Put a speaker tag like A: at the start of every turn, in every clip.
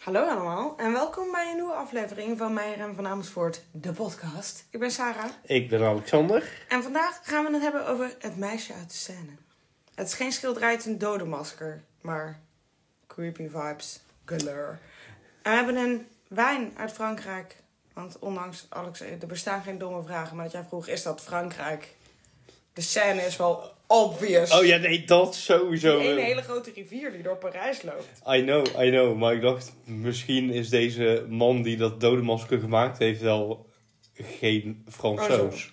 A: Hallo allemaal en welkom bij een nieuwe aflevering van Meijer en van Amersfoort, de podcast. Ik ben Sarah
B: Ik ben Alexander.
A: en vandaag gaan we het hebben over het meisje uit de scène. Het is geen schilderij, het is een dodenmasker, maar creepy vibes, galore. En we hebben een wijn uit Frankrijk, want ondanks, Alex, er bestaan geen domme vragen, maar dat jij vroeg, is dat Frankrijk? De scène is wel obvious.
B: Oh ja, eh. nee, dat sowieso.
A: Een hele grote rivier die door Parijs loopt.
B: I know, I know. Maar ik dacht, misschien is deze man die dat dodenmasker gemaakt heeft wel geen
A: Oh,
B: Fransoos.
A: zo.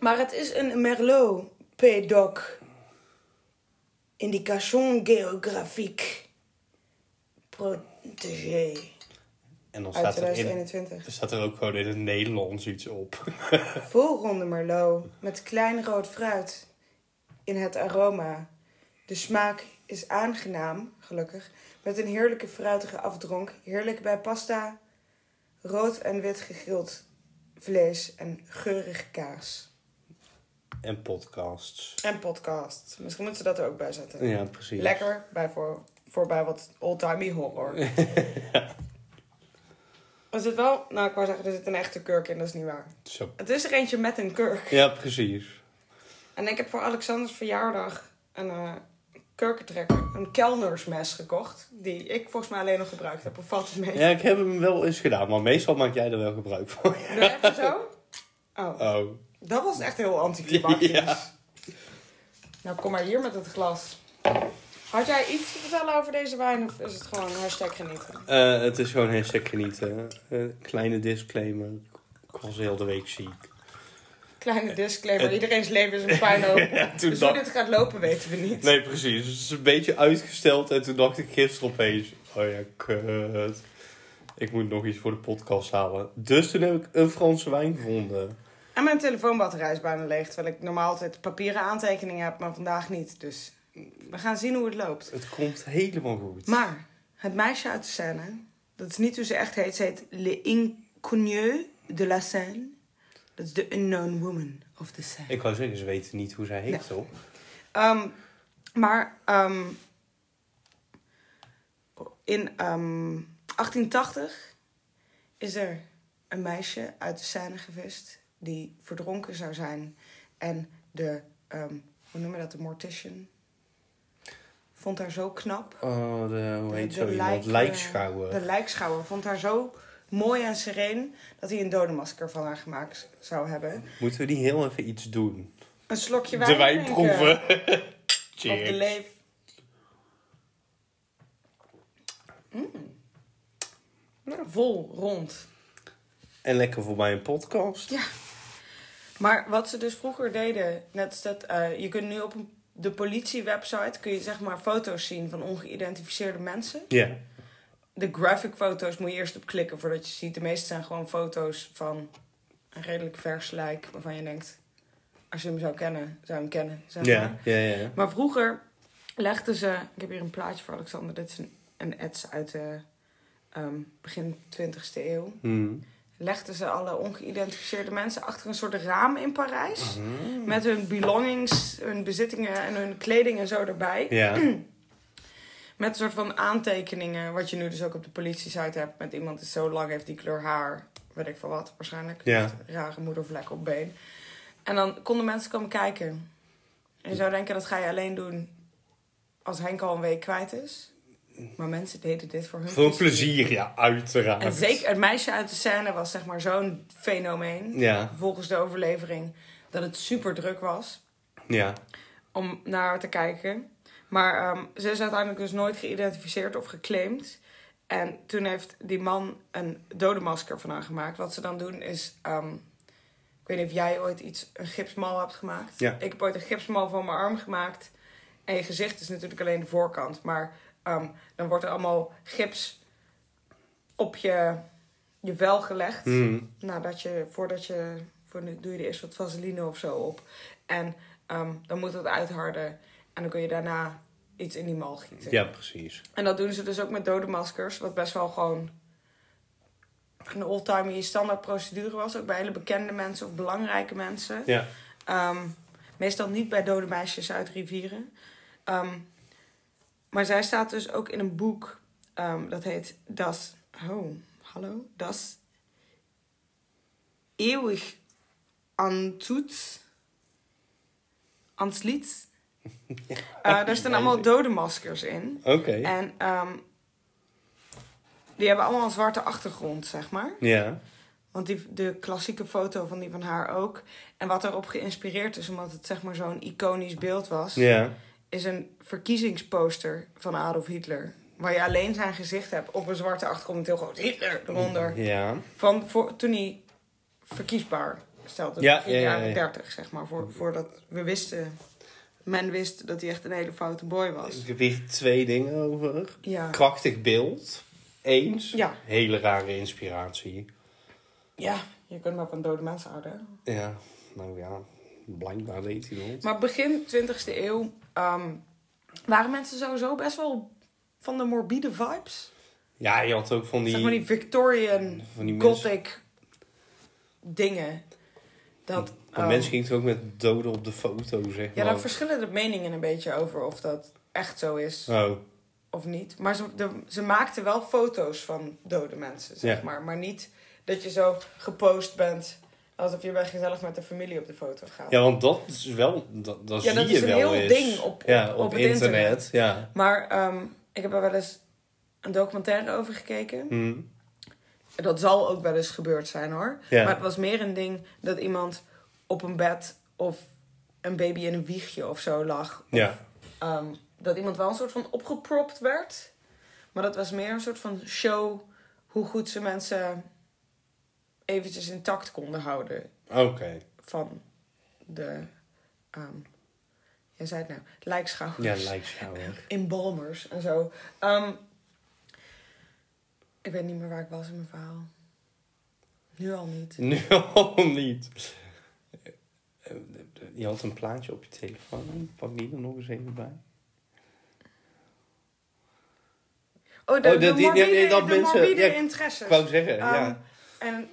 A: Maar het is een Merlot P-Doc. Indication géographique. Protégé.
B: en dan
A: Uit
B: staat er, in,
A: 2021.
B: staat er ook gewoon in het Nederlands iets op.
A: Volronde Merlot met klein rood fruit in het aroma. De smaak is aangenaam, gelukkig, met een heerlijke fruitige afdronk. Heerlijk bij pasta, rood en wit gegrild vlees en geurige kaas.
B: en podcasts.
A: En podcast. Misschien moeten ze dat er ook bij zetten.
B: Ja, precies.
A: Lekker bij voor, voorbij wat oldtimey horror. Er zit wel, nou ik wou zeggen, er zit een echte kurk in, dat is niet waar.
B: Zo.
A: Het is er eentje met een kurk.
B: Ja, precies.
A: En ik heb voor Alexanders verjaardag een eh kurkentrekker, een kelnersmes gekocht. Die ik volgens mij alleen nog gebruikt heb, of valt het mee?
B: Ja, ik heb hem wel eens gedaan, maar meestal maak jij er wel gebruik van.
A: Doe even zo. Oh,
B: Oh.
A: dat was echt heel anticlimactisch. Nou, kom maar hier met het glas. Had jij iets te vertellen over deze wijn, of is het gewoon hashtag genieten?
B: Eh, het is gewoon hashtag genieten. Eh, kleine disclaimer. Ik was heel de week ziek.
A: Kleine disclaimer, iedereen's leven is een puinhoop.
B: Eh, Ja, toen
A: Dus hoe
B: dacht-
A: dit gaat lopen weten we niet.
B: Nee, precies. Het is een beetje uitgesteld en toen dacht ik gisteren opeens... Oh ja, kut. Ik moet nog iets voor de podcast halen. Dus toen heb ik een Franse wijn gevonden.
A: En mijn telefoonbatterij is bijna leeg, terwijl ik normaal altijd papieren aantekeningen heb, maar vandaag niet. Dus we gaan zien hoe het loopt.
B: Het komt helemaal goed.
A: Maar het meisje uit de scène, dat is niet hoe ze echt heet, ze heet Le Inconnue de la Seine. Dat is de unknown woman of the Seine.
B: Ik wou zeggen, ze weten niet hoe zij heet,
A: Nee.
B: toch?
A: Ehm, maar ehm, in ehm, 1880 is er een meisje uit de Seine gevist die verdronken zou zijn. En de, ehm, hoe noemen we dat, de mortician, vond haar zo knap.
B: Oh, de, hoe heet
A: De
B: zo
A: lijk,
B: iemand?
A: eh,
B: Lijkschouwer.
A: De lijkschouwer vond haar zo mooi en sereen dat hij een dodenmasker van haar gemaakt zou hebben.
B: Moeten we die heel even iets doen?
A: Een slokje wijn
B: de wijn
A: drinken.
B: proeven.
A: Op de
B: Cheers.
A: leef. Mm. Nou, vol, rond.
B: En lekker voor mij een podcast.
A: Ja. Maar wat ze dus vroeger deden, net als dat, eh, je kunt nu op een- de politiewebsite kun je zeg maar foto's zien van ongeïdentificeerde mensen.
B: Ja.
A: De graphic foto's moet je eerst op klikken voordat je ziet. De meeste zijn gewoon foto's van een redelijk vers lijk waarvan je denkt, als je hem zou kennen, zou je hem kennen. Zeg maar.
B: Ja, ja, ja.
A: Maar vroeger legden ze. Ik heb hier een plaatje voor Alexander. Dit is een, een ads uit de ehm, begin 20e eeuw.
B: Hmm.
A: Legden ze alle ongeïdentificeerde mensen achter een soort raam in Parijs. Met hun belongings, hun bezittingen en hun kleding en zo erbij.
B: Ja.
A: Met een soort van aantekeningen. Wat je nu dus ook op de politie-site hebt. Met iemand die zo lang heeft die kleur haar. Weet ik veel wat waarschijnlijk.
B: Ja.
A: Of een Rare moedervlek op been. En dan konden mensen komen kijken. En je zou denken dat ga je alleen doen als Henk al een week kwijt is. Maar mensen deden dit voor hun
B: Voor plezier, ja, uiteraard.
A: En zeker het meisje uit de scène was zeg maar zo'n fenomeen.
B: Ja,
A: Volgens de overlevering dat het super druk was
B: ja.
A: om naar haar te kijken. Maar ehm, ze is uiteindelijk dus nooit geïdentificeerd of geclaimd. En toen heeft die man een dodenmasker van haar gemaakt. Wat ze dan doen is... ehm, ik weet niet of jij ooit iets, een gipsmal hebt gemaakt.
B: Ja.
A: Ik heb ooit een gipsmal van mijn arm gemaakt. En je gezicht is natuurlijk alleen de voorkant. Maar ehm, dan wordt er allemaal gips op je, je vel gelegd.
B: Hmm.
A: Nadat je, voordat je, voor, doe je er eerst wat vaseline of zo op. En ehm, dan moet dat uitharden. En dan kun je daarna iets in die mal gieten.
B: Ja, precies.
A: En dat doen ze dus ook met dode maskers. Wat best wel gewoon een oldtimey standaard procedure was. Ook bij hele bekende mensen of belangrijke mensen.
B: Ja.
A: Ehm, meestal niet bij dode meisjes uit rivieren. Ehm, Maar zij staat dus ook in een boek ehm, dat heet Das. Oh, hallo? Das. Eeuwig Antut. Anslied. Eh, daar staan allemaal dodenmaskers in.
B: Oké.
A: En ehm, die hebben allemaal een zwarte achtergrond, zeg maar.
B: Ja.
A: Want die, de klassieke foto van die van haar ook. En wat erop geïnspireerd is, omdat het zeg maar zo'n iconisch beeld was,
B: Ja.
A: is een verkiezingsposter van Adolf Hitler. Waar je alleen zijn gezicht hebt op een zwarte achtergrond met heel groot Hitler eronder.
B: Ja.
A: Van voor, toen hij verkiesbaar stelde.
B: Ja,
A: in de
B: ja, ja, ja.
A: jaren 30, zeg maar. Voor, voordat we wisten, men wist dat hij echt een hele foute boy was.
B: Ik heb hier twee dingen over.
A: Ja.
B: Krachtig beeld. Eens.
A: Ja.
B: Hele rare inspiratie.
A: ja, je kunt maar van dode mensen houden. hè?
B: Ja. Nou ja. Blijkbaar deed hij dat.
A: Maar begin 20e eeuw ehm, waren mensen sowieso best wel van de morbide vibes.
B: Ja, je had ook van die...
A: Zeg maar die Victorian,
B: van die
A: gothic dingen. Dat,
B: Want
A: ehm,
B: mensen gingen toen ook met doden op de foto, zeg
A: ja,
B: maar.
A: daar verschillen de meningen een beetje over of dat echt zo is
B: Oh,
A: of niet. Maar ze, de- ze maakten wel foto's van dode mensen, zeg
B: Ja.
A: maar. Maar niet dat je zo gepost bent alsof je bij gezellig met de familie op de foto gaat.
B: ja, want dat is wel... Dat, dat
A: Ja,
B: zie
A: dat
B: je
A: is een
B: wel
A: heel
B: eens.
A: ding op- op-
B: ja,
A: op het internet.
B: Ja.
A: Maar ehm, ik heb er wel eens een documentaire over gekeken.
B: Hm.
A: Dat zal ook wel eens gebeurd zijn hoor.
B: Ja.
A: Maar het was meer een ding dat iemand op een bed of een baby in een wiegje of zo lag. Of,
B: Ja.
A: ehm, dat iemand wel een soort van opgepropt werd. Maar dat was meer een soort van show hoe goed ze mensen eventjes intact konden houden
B: Oké.
A: van de. ehm jij zei het nou, lijkschouwers
B: Ja, lijkt jou wel.
A: in Balmers en zo. Ehm, ik weet niet meer waar ik was in mijn verhaal. Nu al niet. Oh,
B: Nu al niet. Eh, Je had een plaatje op je telefoon. Pak die er nog eens even bij.
A: Oh, de,
B: Oh, dat-
A: de
B: die- nee,
A: morbide,
B: nee, dat
A: de
B: mensen-
A: morbide
B: ja,
A: interesses.
B: Ik wou zeggen,
A: Ehm,
B: ja.
A: En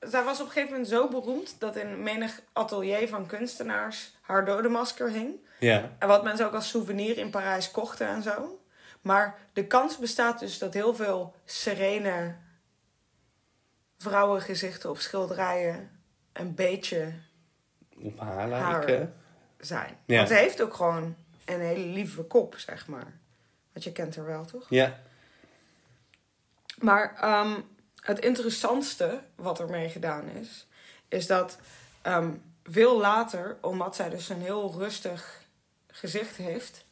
A: zij was op een gegeven moment zo beroemd dat in menig atelier van kunstenaars haar dodenmasker hing.
B: Ja.
A: En wat mensen ook als souvenir in Parijs kochten en zo. Maar de kans bestaat dus dat heel veel serene vrouwengezichten op schilderijen een beetje
B: Op haar
A: Haar.
B: lijken.
A: zijn.
B: Ja.
A: Want ze heeft ook gewoon een hele lieve kop, zeg maar. Want je kent haar wel, toch?
B: Ja.
A: Maar ehm, het interessantste wat ermee gedaan is, is dat ehm, veel later, omdat zij dus een heel rustig gezicht heeft,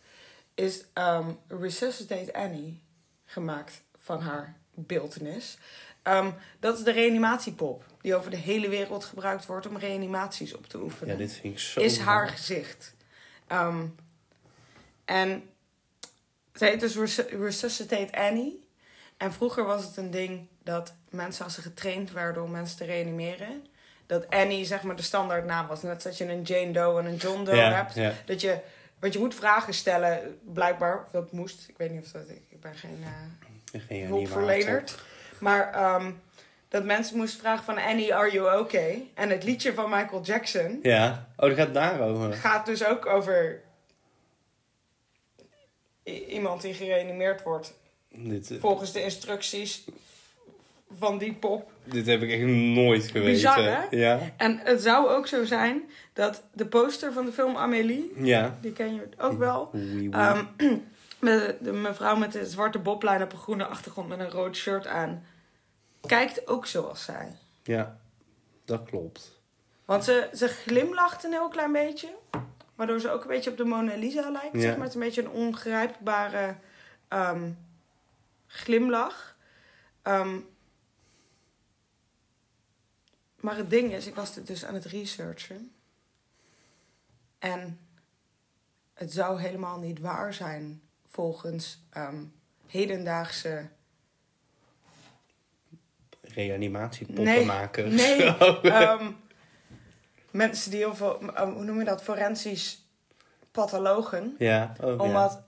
A: is ehm Resuscitate Annie gemaakt van haar beeldenis. Ehm, dat is de reanimatiepop die over de hele wereld gebruikt wordt om reanimaties op te oefenen
B: Ja, dit vind ik zo...
A: is haar gezicht. Ehm, en ze heet dus Resu- Resuscitate Annie. En vroeger was het een ding dat mensen, als ze getraind werden om mensen te reanimeren, dat Annie zeg maar de standaardnaam was. Net zoals je een Jane Doe en een John Doe
B: Ja,
A: hebt.
B: ja.
A: Dat je, want je moet vragen stellen, blijkbaar, of dat moest. Ik weet niet of dat, ik, ik ben geen... eh,
B: Geen
A: hulpverlener. Maar ehm, dat mensen moesten vragen van Annie, are you okay? En het liedje van Michael Jackson
B: Ja. Oh, dat gaat daarover.
A: gaat dus ook over i- iemand die gereanimeerd wordt.
B: Dit, eh,
A: Volgens de instructies van die pop.
B: dit heb ik echt nooit geweten.
A: Bizar, hè?
B: Ja.
A: En het zou ook zo zijn dat de poster van de film Amélie,
B: Ja.
A: die ken je ook wel,
B: Oei, oei.
A: Ehm, met de mevrouw met de zwarte boblijn op een groene achtergrond met een rood shirt aan. Kijkt ook zoals zij.
B: Ja. Dat klopt.
A: Want ze, ze glimlacht een heel klein beetje. Waardoor ze ook een beetje op de Mona Lisa lijkt.
B: Ja.
A: Zeg maar. Het is een beetje een ongrijpbare ehm, glimlach. Ehm, maar het ding is, ik was dit dus aan het researchen. En het zou helemaal niet waar zijn volgens ehm, hedendaagse
B: Reanimatiepoppenmaker.
A: Nee. ehm, mensen die heel veel, ehm, hoe noem je dat, forensisch pathologen.
B: Ja. Oh, ja.
A: Omdat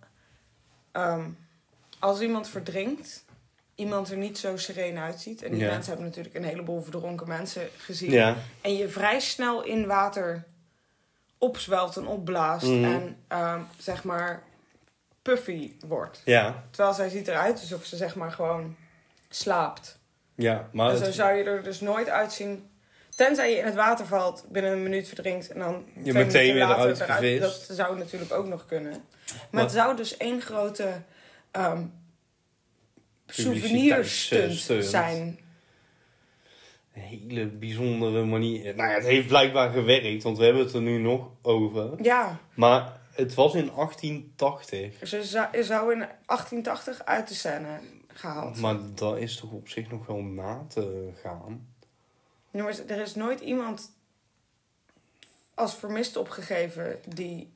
A: ehm, als iemand verdrinkt, iemand er niet zo sereen uitziet. En die
B: Ja.
A: mensen hebben natuurlijk een heleboel verdronken mensen gezien.
B: Ja.
A: En je vrij snel in water opzwelt en opblaast.
B: Mhm.
A: En ehm, zeg maar puffy wordt.
B: Ja,
A: Terwijl zij ziet eruit alsof ze zeg maar gewoon slaapt.
B: ja maar
A: en zo
B: het-
A: zou je er dus nooit uitzien. Tenzij je in het water valt, binnen een minuut verdrinkt en dan twee
B: meteen
A: minuten
B: weer
A: later
B: eruit gevist.
A: Dat zou natuurlijk ook nog kunnen. Maar,
B: Maar-
A: het zou dus één grote ehm
B: Publiciteitsstunt.
A: souvenirstunt zijn.
B: een hele bijzondere manier. Nou ja, het heeft blijkbaar gewerkt, want we hebben het er nu nog over.
A: Ja,
B: Maar het was in 1880.
A: ze zou, zou in 1880 uit de scène gehaald.
B: Maar dat is toch op zich nog wel na te gaan.
A: Ja, maar er is nooit iemand als vermist opgegeven die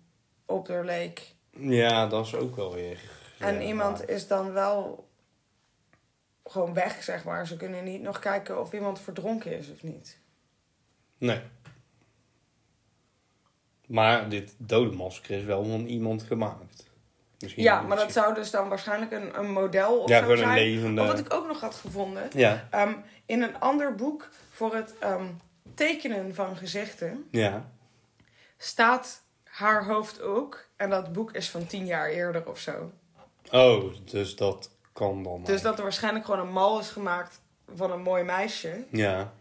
A: op er leek.
B: Ja, dat is ook wel weer. eh,
A: En
B: ja,
A: iemand is dan wel gewoon weg, zeg maar. Ze kunnen niet nog kijken of iemand verdronken is of niet.
B: Nee. Maar dit dodenmasker is wel van iemand gemaakt. Misschien
A: ja, maar dat zou dus dan waarschijnlijk een, een model of
B: Ja,
A: zo
B: gewoon een
A: zijn.
B: levende.
A: Of wat ik ook nog had gevonden,
B: Ja,
A: ehm, in een ander boek voor het ehm, tekenen van gezichten...
B: ja.
A: staat haar hoofd ook. En dat boek is van tien jaar eerder of zo.
B: Oh, dus dat kan dan.
A: Dus dat er waarschijnlijk gewoon een mal is gemaakt van een mooi meisje.
B: Ja.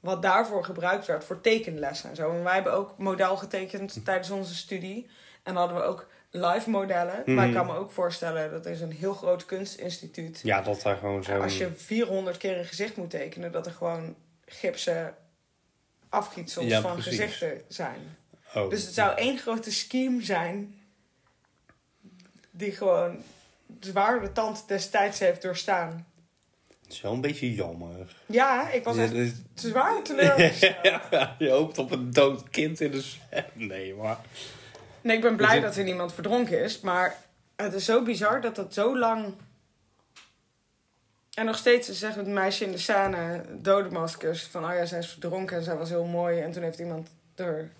A: Wat daarvoor gebruikt werd voor tekenlessen en zo. En wij hebben ook model getekend tijdens onze studie. En dan hadden we ook live modellen. Maar ik kan me ook voorstellen, dat is een heel groot kunstinstituut.
B: Mhm. ja, dat daar gewoon zo.
A: Als je 400 keer een gezicht moet tekenen, dat er gewoon gipsen afgietsels
B: Ja,
A: van
B: precies.
A: gezichten zijn.
B: Oh.
A: Dus het zou één grote scheme zijn. Die gewoon zwaar de tand destijds heeft doorstaan.
B: Het is wel een beetje jammer.
A: Ja, ik was
B: Ja,
A: echt
B: dus-
A: zwaar teleurgesteld.
B: je hoopt op een dood kind in de zwem. Nee, maar...
A: Nee, ik ben blij
B: Dus-
A: dat er niemand verdronken is. Maar het is zo bizar dat dat zo lang... En nog steeds zegt het meisje in de scène, dodenmaskers, van oh ja, zij is verdronken en zij was heel mooi. En toen heeft iemand er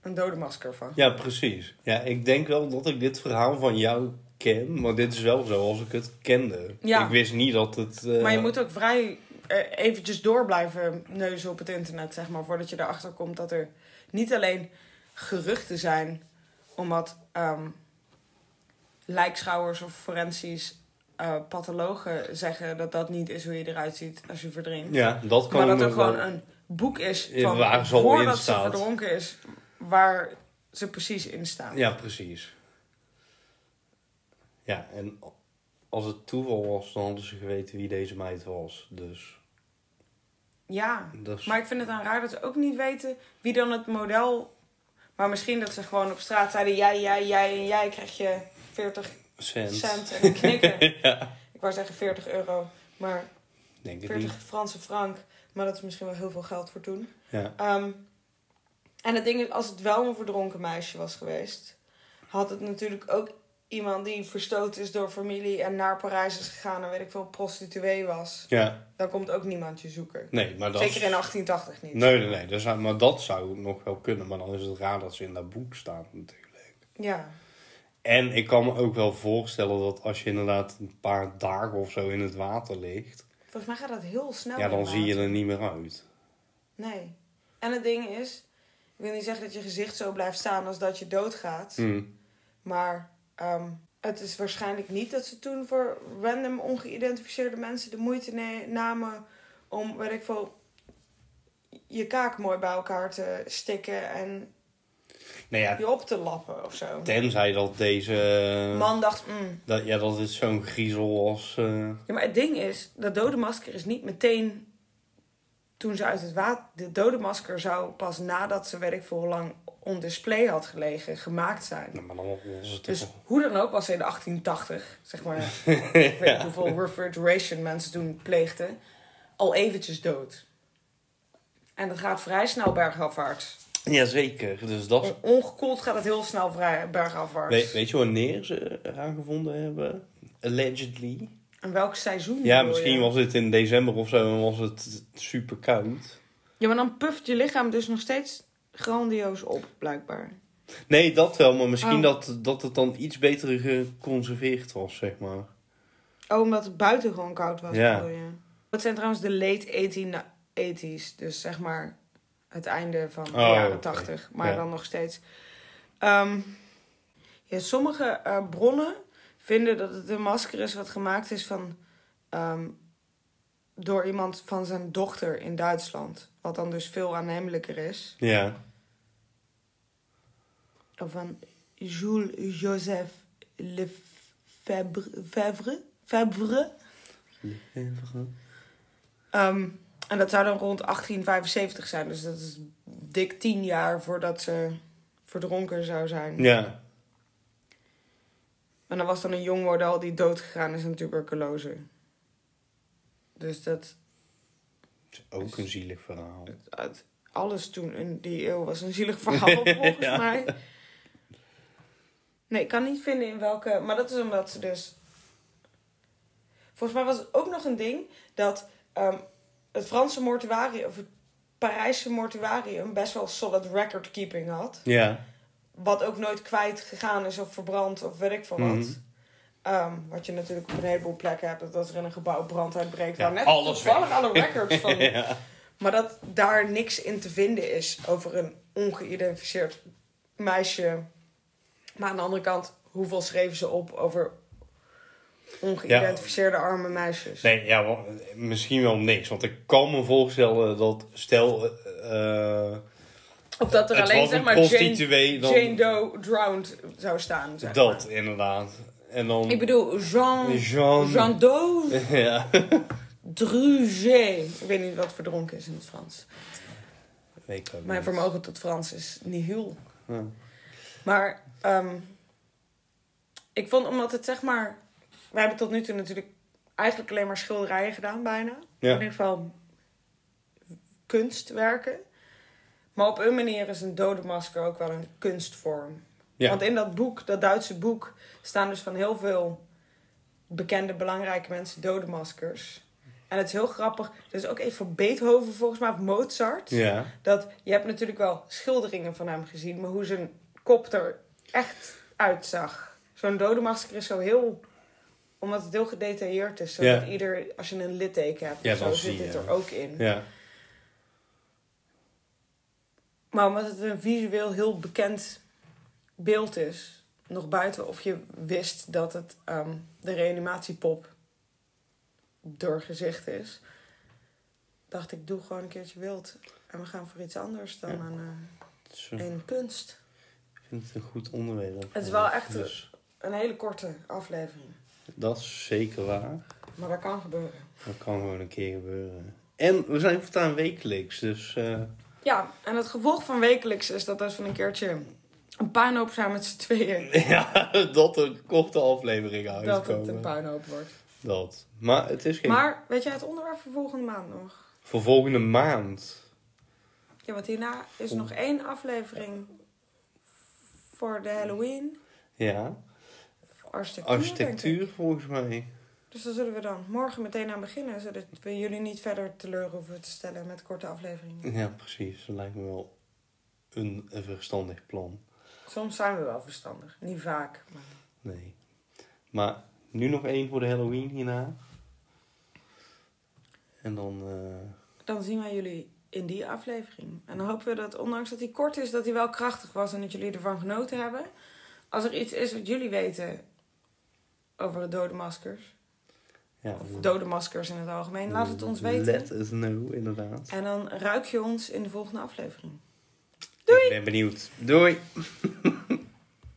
A: een dodenmasker van.
B: Ja, precies. Ja, ik denk wel dat ik dit verhaal van jou ken. Maar dit is wel zoals ik het kende.
A: Ja.
B: Ik wist niet dat het... eh,
A: Maar je moet ook vrij eh, eventjes door blijven neuzen op het internet, zeg maar. Voordat je erachter komt dat er niet alleen geruchten zijn. Omdat ehm lijkschouwers of forensisch eh, pathologen zeggen dat dat niet is hoe je eruit ziet als je verdrinkt.
B: Ja, dat kan
A: maar dat
B: ik
A: er
B: nog
A: gewoon
B: wel-
A: een boek is
B: Ja,
A: van
B: waar ze al in
A: voordat ze
B: staat.
A: verdronken is, waar ze precies in staan.
B: Ja, precies. Ja, en als het toeval was, dan hadden ze geweten wie deze meid was. Dus
A: Ja.
B: dat is...
A: Maar ik vind het dan raar dat ze ook niet weten wie dan het model. Maar misschien dat ze gewoon op straat zeiden: jij, jij, jij en jij krijg je 40
B: cent.
A: cent en een knikker. Ik wou zeggen 40 euro, maar
B: Denk ik
A: 40
B: niet.
A: Franse frank. Maar dat is misschien wel heel veel geld voor toen.
B: Ja.
A: Ehm, en het ding is, als het wel een verdronken meisje was geweest, had het natuurlijk ook iemand die verstoten is door familie en naar Parijs is gegaan en weet ik veel, prostituee was.
B: ja,
A: Dan komt ook niemand je zoeken.
B: nee, maar dat...
A: Zeker in 1880 niet.
B: Nee, nee, nee. dat zou- maar dat zou nog wel kunnen. Maar dan is het raar dat ze in dat boek staat natuurlijk.
A: Ja.
B: En ik kan me ook wel voorstellen dat als je inderdaad een paar dagen of zo in het water ligt...
A: Volgens mij gaat dat heel snel.
B: ja, dan
A: inderdaad.
B: zie je er niet meer uit.
A: Nee. En het ding is, ik wil niet zeggen dat je gezicht zo blijft staan als dat je doodgaat.
B: Hm.
A: Maar ehm, het is waarschijnlijk niet dat ze toen voor random ongeïdentificeerde mensen de moeite ne- namen om, weet ik veel, je kaak mooi bij elkaar te stikken en
B: Nou ja,
A: je op te lappen of zo.
B: tenzij dat deze...
A: Man dacht, mm.
B: Dat, ja, dat het zo'n griezel was... eh,
A: Ja, maar het ding is, dat dode masker is niet meteen toen ze uit het water... De dode masker zou pas nadat ze, weet ik veel hoe lang, on display had gelegen, gemaakt zijn.
B: Nou, maar dan was het
A: Dus
B: toch-
A: hoe dan ook was ze in 1880, zeg maar, ik weet niet hoeveel refrigeration mensen toen pleegden, al eventjes dood. En dat gaat vrij snel bergafwaarts.
B: Jazeker, dus
A: Oh,
B: dat... is-
A: Ongekoeld gaat het heel snel vrij bergafwaarts.
B: We- weet je wanneer ze haar gevonden hebben? Allegedly.
A: En welk seizoen?
B: Ja,
A: bedoel
B: misschien
A: je?
B: was het in december of zo en was het super koud.
A: Ja, maar dan puft je lichaam dus nog steeds grandioos op, blijkbaar.
B: Nee, dat wel, maar misschien
A: Oh.
B: dat, dat het dan iets beter geconserveerd was, zeg maar.
A: Oh, omdat het buiten gewoon koud was,
B: Ja.
A: bedoel je? Dat zijn trouwens de late 1880s. Dus zeg maar het einde van de
B: Oh,
A: jaren
B: oké.
A: 80. Maar
B: Ja.
A: dan nog steeds. Ehm, ja, sommige eh, bronnen vinden dat het een masker is wat gemaakt is van, ehm, door iemand van zijn dochter in Duitsland. Wat dan dus veel aannemelijker is.
B: Ja.
A: Of van Jules Joseph Lefebvre. Favre? Favre? Ehm, en dat zou dan rond 1875 zijn. Dus dat is dik tien jaar voordat ze verdronken zou zijn.
B: Ja.
A: En er was dan een jong model die doodgegaan is aan tuberculose. Dus dat
B: Het is ook een zielig verhaal.
A: uit alles toen in die eeuw was een zielig verhaal volgens
B: Ja.
A: mij. Nee, ik kan niet vinden in welke. Maar dat is omdat ze dus. Volgens mij was het ook nog een ding dat ehm, het Franse mortuarium of het Parijse mortuarium best wel solid record keeping had
B: Ja.
A: wat ook nooit kwijt gegaan is of verbrand of weet ik van wat.
B: Mhm.
A: Ehm, wat je natuurlijk op een heleboel plekken hebt, dat als er in een gebouw brand uitbreekt,
B: Ja,
A: waar net
B: alles
A: toevallig alle records van.
B: Ja.
A: Maar dat daar niks in te vinden is over een ongeïdentificeerd meisje. Maar aan de andere kant, hoeveel schreven ze op over ongeïdentificeerde arme meisjes?
B: Nee, ja, wa- misschien wel niks. Want ik kan me voorstellen dat stel... eh, eh,
A: Of dat er
B: het
A: alleen
B: was
A: zeg
B: een
A: maar Jane,
B: prostituee, dan
A: Jane Doe drowned zou staan. Zeg
B: Dat,
A: maar.
B: inderdaad. En dan...
A: Ik bedoel, Jean,
B: Jean...
A: Jean Doe
B: Ja.
A: Druget. Ik weet niet wat verdronken is in het Frans.
B: Weet ik ook
A: Mijn
B: niet.
A: vermogen tot Frans is niet heel.
B: Ja.
A: Maar ehm, ik vond omdat het zeg maar. Wij hebben tot nu toe natuurlijk eigenlijk alleen maar schilderijen gedaan, bijna.
B: Ja.
A: In ieder geval kunstwerken. Maar op een manier is een dodenmasker ook wel een kunstvorm.
B: Ja.
A: Want in dat boek, dat Duitse boek, staan dus van heel veel bekende, belangrijke mensen dodenmaskers. En het is heel grappig. Er is ook even van Beethoven volgens mij, of Mozart.
B: Ja.
A: Dat je hebt natuurlijk wel schilderingen van hem gezien, maar hoe zijn kop er echt uitzag. Zo'n dodenmasker is zo heel omdat het heel gedetailleerd is, zodat
B: Ja.
A: ieder als je een litteken hebt,
B: Ja,
A: of zo
B: dan zie
A: zit
B: je
A: het
B: hem.
A: er ook in.
B: Ja.
A: Maar omdat het een visueel heel bekend beeld is, nog buiten of je wist dat het ehm, de reanimatiepop door gezicht is, dacht ik doe gewoon een keertje wild en we gaan voor iets anders dan
B: Ja.
A: aan
B: Het is
A: eh,
B: een-
A: een kunst.
B: Ik vind het een goed onderwerp.
A: Het is wel echt-
B: Dus
A: Een hele korte aflevering.
B: dat is zeker waar.
A: Maar dat kan gebeuren.
B: Dat kan gewoon een keer gebeuren. En we zijn voortaan wekelijks, dus... eh,
A: Ja, en het gevolg van wekelijks is dat als we een keertje een puinhoop zijn met z'n tweeën,
B: ja, dat er korte afleveringen
A: dat het een
B: uitkomen. Dat,
A: puinhoop wordt.
B: Maar het is geen...
A: Maar weet jij het onderwerp voor volgende maand nog?
B: Voor volgende maand.
A: Ja, want hierna is nog één aflevering voor de Halloween.
B: Ja.
A: Voor Architectuur. denk ik.
B: Architectuur volgens mij.
A: Dus daar zullen we dan morgen meteen aan beginnen, zodat we jullie niet verder teleur hoeven te stellen met korte afleveringen.
B: Ja, precies. Dat lijkt me wel een een verstandig plan.
A: Soms zijn we wel verstandig. Niet vaak. Maar...
B: Nee. Maar nu nog één voor de Halloween hierna. En dan... eh,
A: Dan zien wij jullie in die aflevering. En dan hopen we dat, ondanks dat hij kort is, dat hij wel krachtig was en dat jullie ervan genoten hebben. Als er iets is wat jullie weten over de dode maskers,
B: ja,
A: of dode maskers in het algemeen, laat het ons weten.
B: Let us know, inderdaad.
A: En dan ruik je ons in de volgende aflevering.
B: Ik ben benieuwd. Doei!